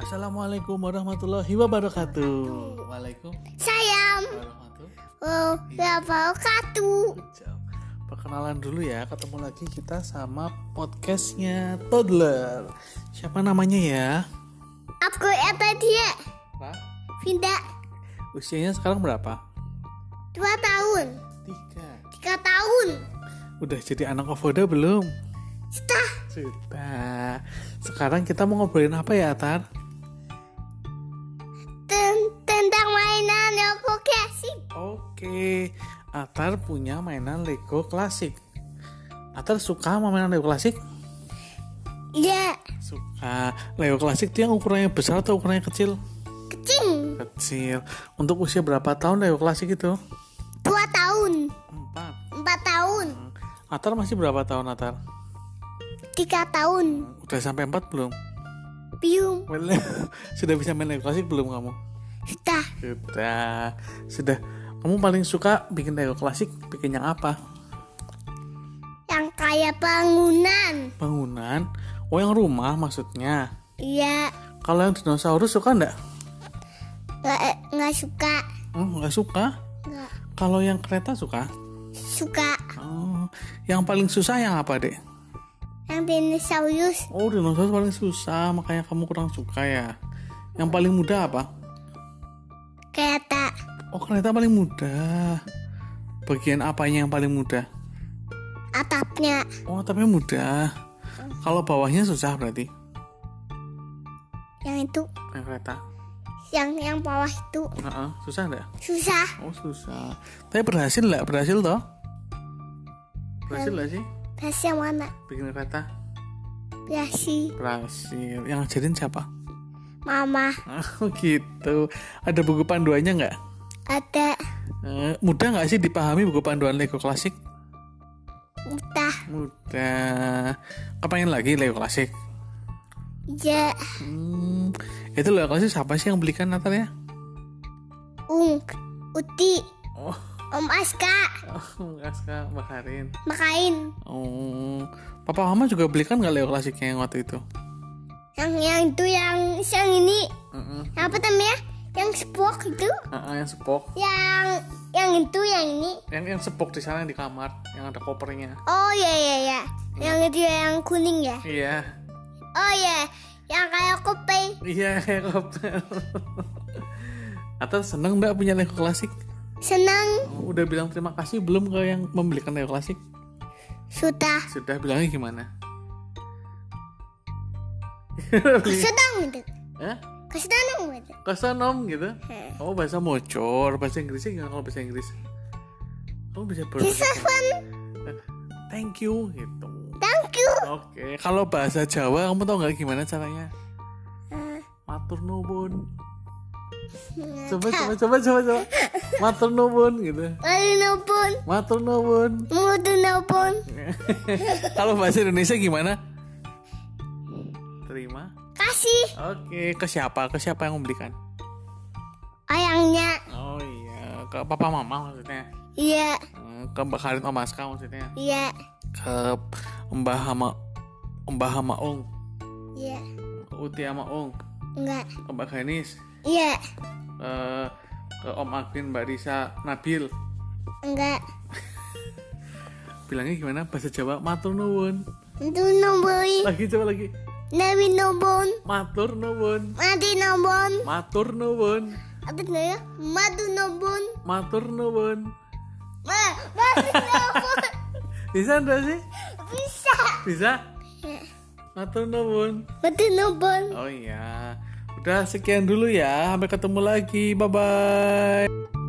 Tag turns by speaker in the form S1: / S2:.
S1: Assalamualaikum warahmatullahi wabarakatuh. Waalaikumsalam
S2: Sayang,
S1: warahmatullahi
S2: oh, ya baru kartu.
S1: Jauh. Perkenalan dulu ya, ketemu lagi kita sama podcastnya Toddler. Siapa namanya ya?
S2: Aku ada dia, ya, pindah
S1: Usianya sekarang berapa?
S2: dua tahun,
S1: Tiga.
S2: tiga tahun.
S1: Udah jadi anak ovoda belum?
S2: Sudah
S1: Sudah. Sekarang kita mau ngobrolin apa ya, Tar?
S2: ten- tentang mainan ya, Lego klasik.
S1: Oke, Atar punya mainan Lego klasik. Atar suka sama mainan Lego klasik?
S2: Ya,
S1: Suka. Lego klasik itu yang ukurannya besar atau ukurannya kecil?
S2: kecil,
S1: Kecil. Untuk usia berapa tahun Lego klasik itu?
S2: dua tahun,
S1: Empat.
S2: empat tahun,
S1: Atar masih berapa tahun Atar?
S2: tiga tahun.
S1: Udah sampai empat belum?
S2: Bium,
S1: Well, Sudah bisa main Lego klasik belum kamu?
S2: sudah.
S1: Sudah. Sudah. Kamu paling suka bikin Lego klasik bikin yang apa?
S2: Yang kayak bangunan.
S1: Bangunan? Oh yang rumah maksudnya.
S2: Iya,
S1: Kalau yang dinosaurus suka nggak?
S2: nggak eh, nggak suka,
S1: Hmm, nggak suka.
S2: nggak
S1: Kalau yang kereta suka?
S2: suka.
S1: Oh, yang paling susah yang apa dek?
S2: Yang dinosaurus
S1: Oh dinosaurus paling susah makanya kamu kurang suka ya. Yang paling mudah apa?
S2: kereta,
S1: Oh kereta paling mudah. Bagian apanya yang paling mudah?
S2: atapnya
S1: Oh tapi mudah. Kalau bawahnya susah berarti.
S2: yang itu
S1: Yang kereta.
S2: yang yang bawah itu
S1: Heeh, susah nggak?
S2: susah
S1: Oh susah. Tapi berhasil nggak? Berhasil toh? Berhasil nggak sih
S2: bahasa yang mana
S1: bikin kereta?
S2: Berhasil
S1: Berhasil. Yang ngajarin siapa?
S2: mama
S1: Oh gitu. Ada buku panduannya nggak?
S2: ada
S1: Eh, mudah nggak sih dipahami buku panduan Lego klasik?
S2: entah
S1: Mudah. Kepengen lagi Lego klasik.
S2: ya
S1: Hmm, itu Lego klasik siapa sih yang belikan Natal ya?
S2: ung uti
S1: Oh,
S2: om aska
S1: Aska Bakarin.
S2: makain
S1: Oh, Papa Mama juga belikan nggak Lego klasiknya yang waktu itu?
S2: yang yang itu yang yang ini
S1: Heeh.
S2: yang apa namanya yang spok itu
S1: Ah, yang sepok.
S2: yang yang itu yang ini
S1: Yang yang sepok di sana yang di kamar, yang ada kopernya.
S2: oh ya ya ya yang itu yang kuning ya
S1: Iya.
S2: oh ya yang kayak kopi
S1: Iya, koper. Atau seneng nggak punya Lego klasik?
S2: senang
S1: Oh, Udah bilang terima kasih belum ke yang membelikan Lego klasik?
S2: sudah
S1: Sudah bilangnya gimana?
S2: kesedang gitu
S1: Hah?
S2: kesedang gitu
S1: Kesonom Eh, gitu?
S2: Hmm.
S1: Kamu bahasa mocor, bahasa Inggrisnya gimana kalau bahasa Inggris? Kamu bisa berbahasa
S2: Seven,
S1: Thank you gitu.
S2: thank you.
S1: Oke, kalau bahasa Jawa kamu tau nggak gimana caranya?
S2: Ah,
S1: Matur nuwun. Coba coba coba coba coba. Matur nuwun gitu.
S2: Lalu nelpon,
S1: Matur nuwun.
S2: mutu nelpon,
S1: kalau bahasa Indonesia gimana? Terima.
S2: kasih
S1: Oke, ke siapa? Ke siapa yang membelikan?
S2: ayangnya.
S1: Oh iya, ke papa mama maksudnya.
S2: Iya,
S1: Eh, Ke Mbak Karin Omaska maksudnya.
S2: iya,
S1: ke Mbah sama Mbah sama Ong,
S2: iya,
S1: ke Uti sama Ong,
S2: enggak,
S1: ke Mbak Ganis,
S2: iya,
S1: ke, ke Om Agin, Mbak Risa, Nabil.
S2: enggak.
S1: Bilangnya gimana bahasa Jawa? Matur nuwun.
S2: Itu nombori,
S1: Lagi coba lagi.
S2: nabi nombon,
S1: Matur nuwun.
S2: mati nombon,
S1: Matur nuwun.
S2: apa namanya? Madu nombon,
S1: Matur nuwun.
S2: ma, madu nombon,
S1: Bisa enggak sih?
S2: bisa.
S1: Bisa? Matur nuwun.
S2: Madu nombon.
S1: Oh iya. Udah sekian dulu ya. Sampai ketemu lagi. Bye bye.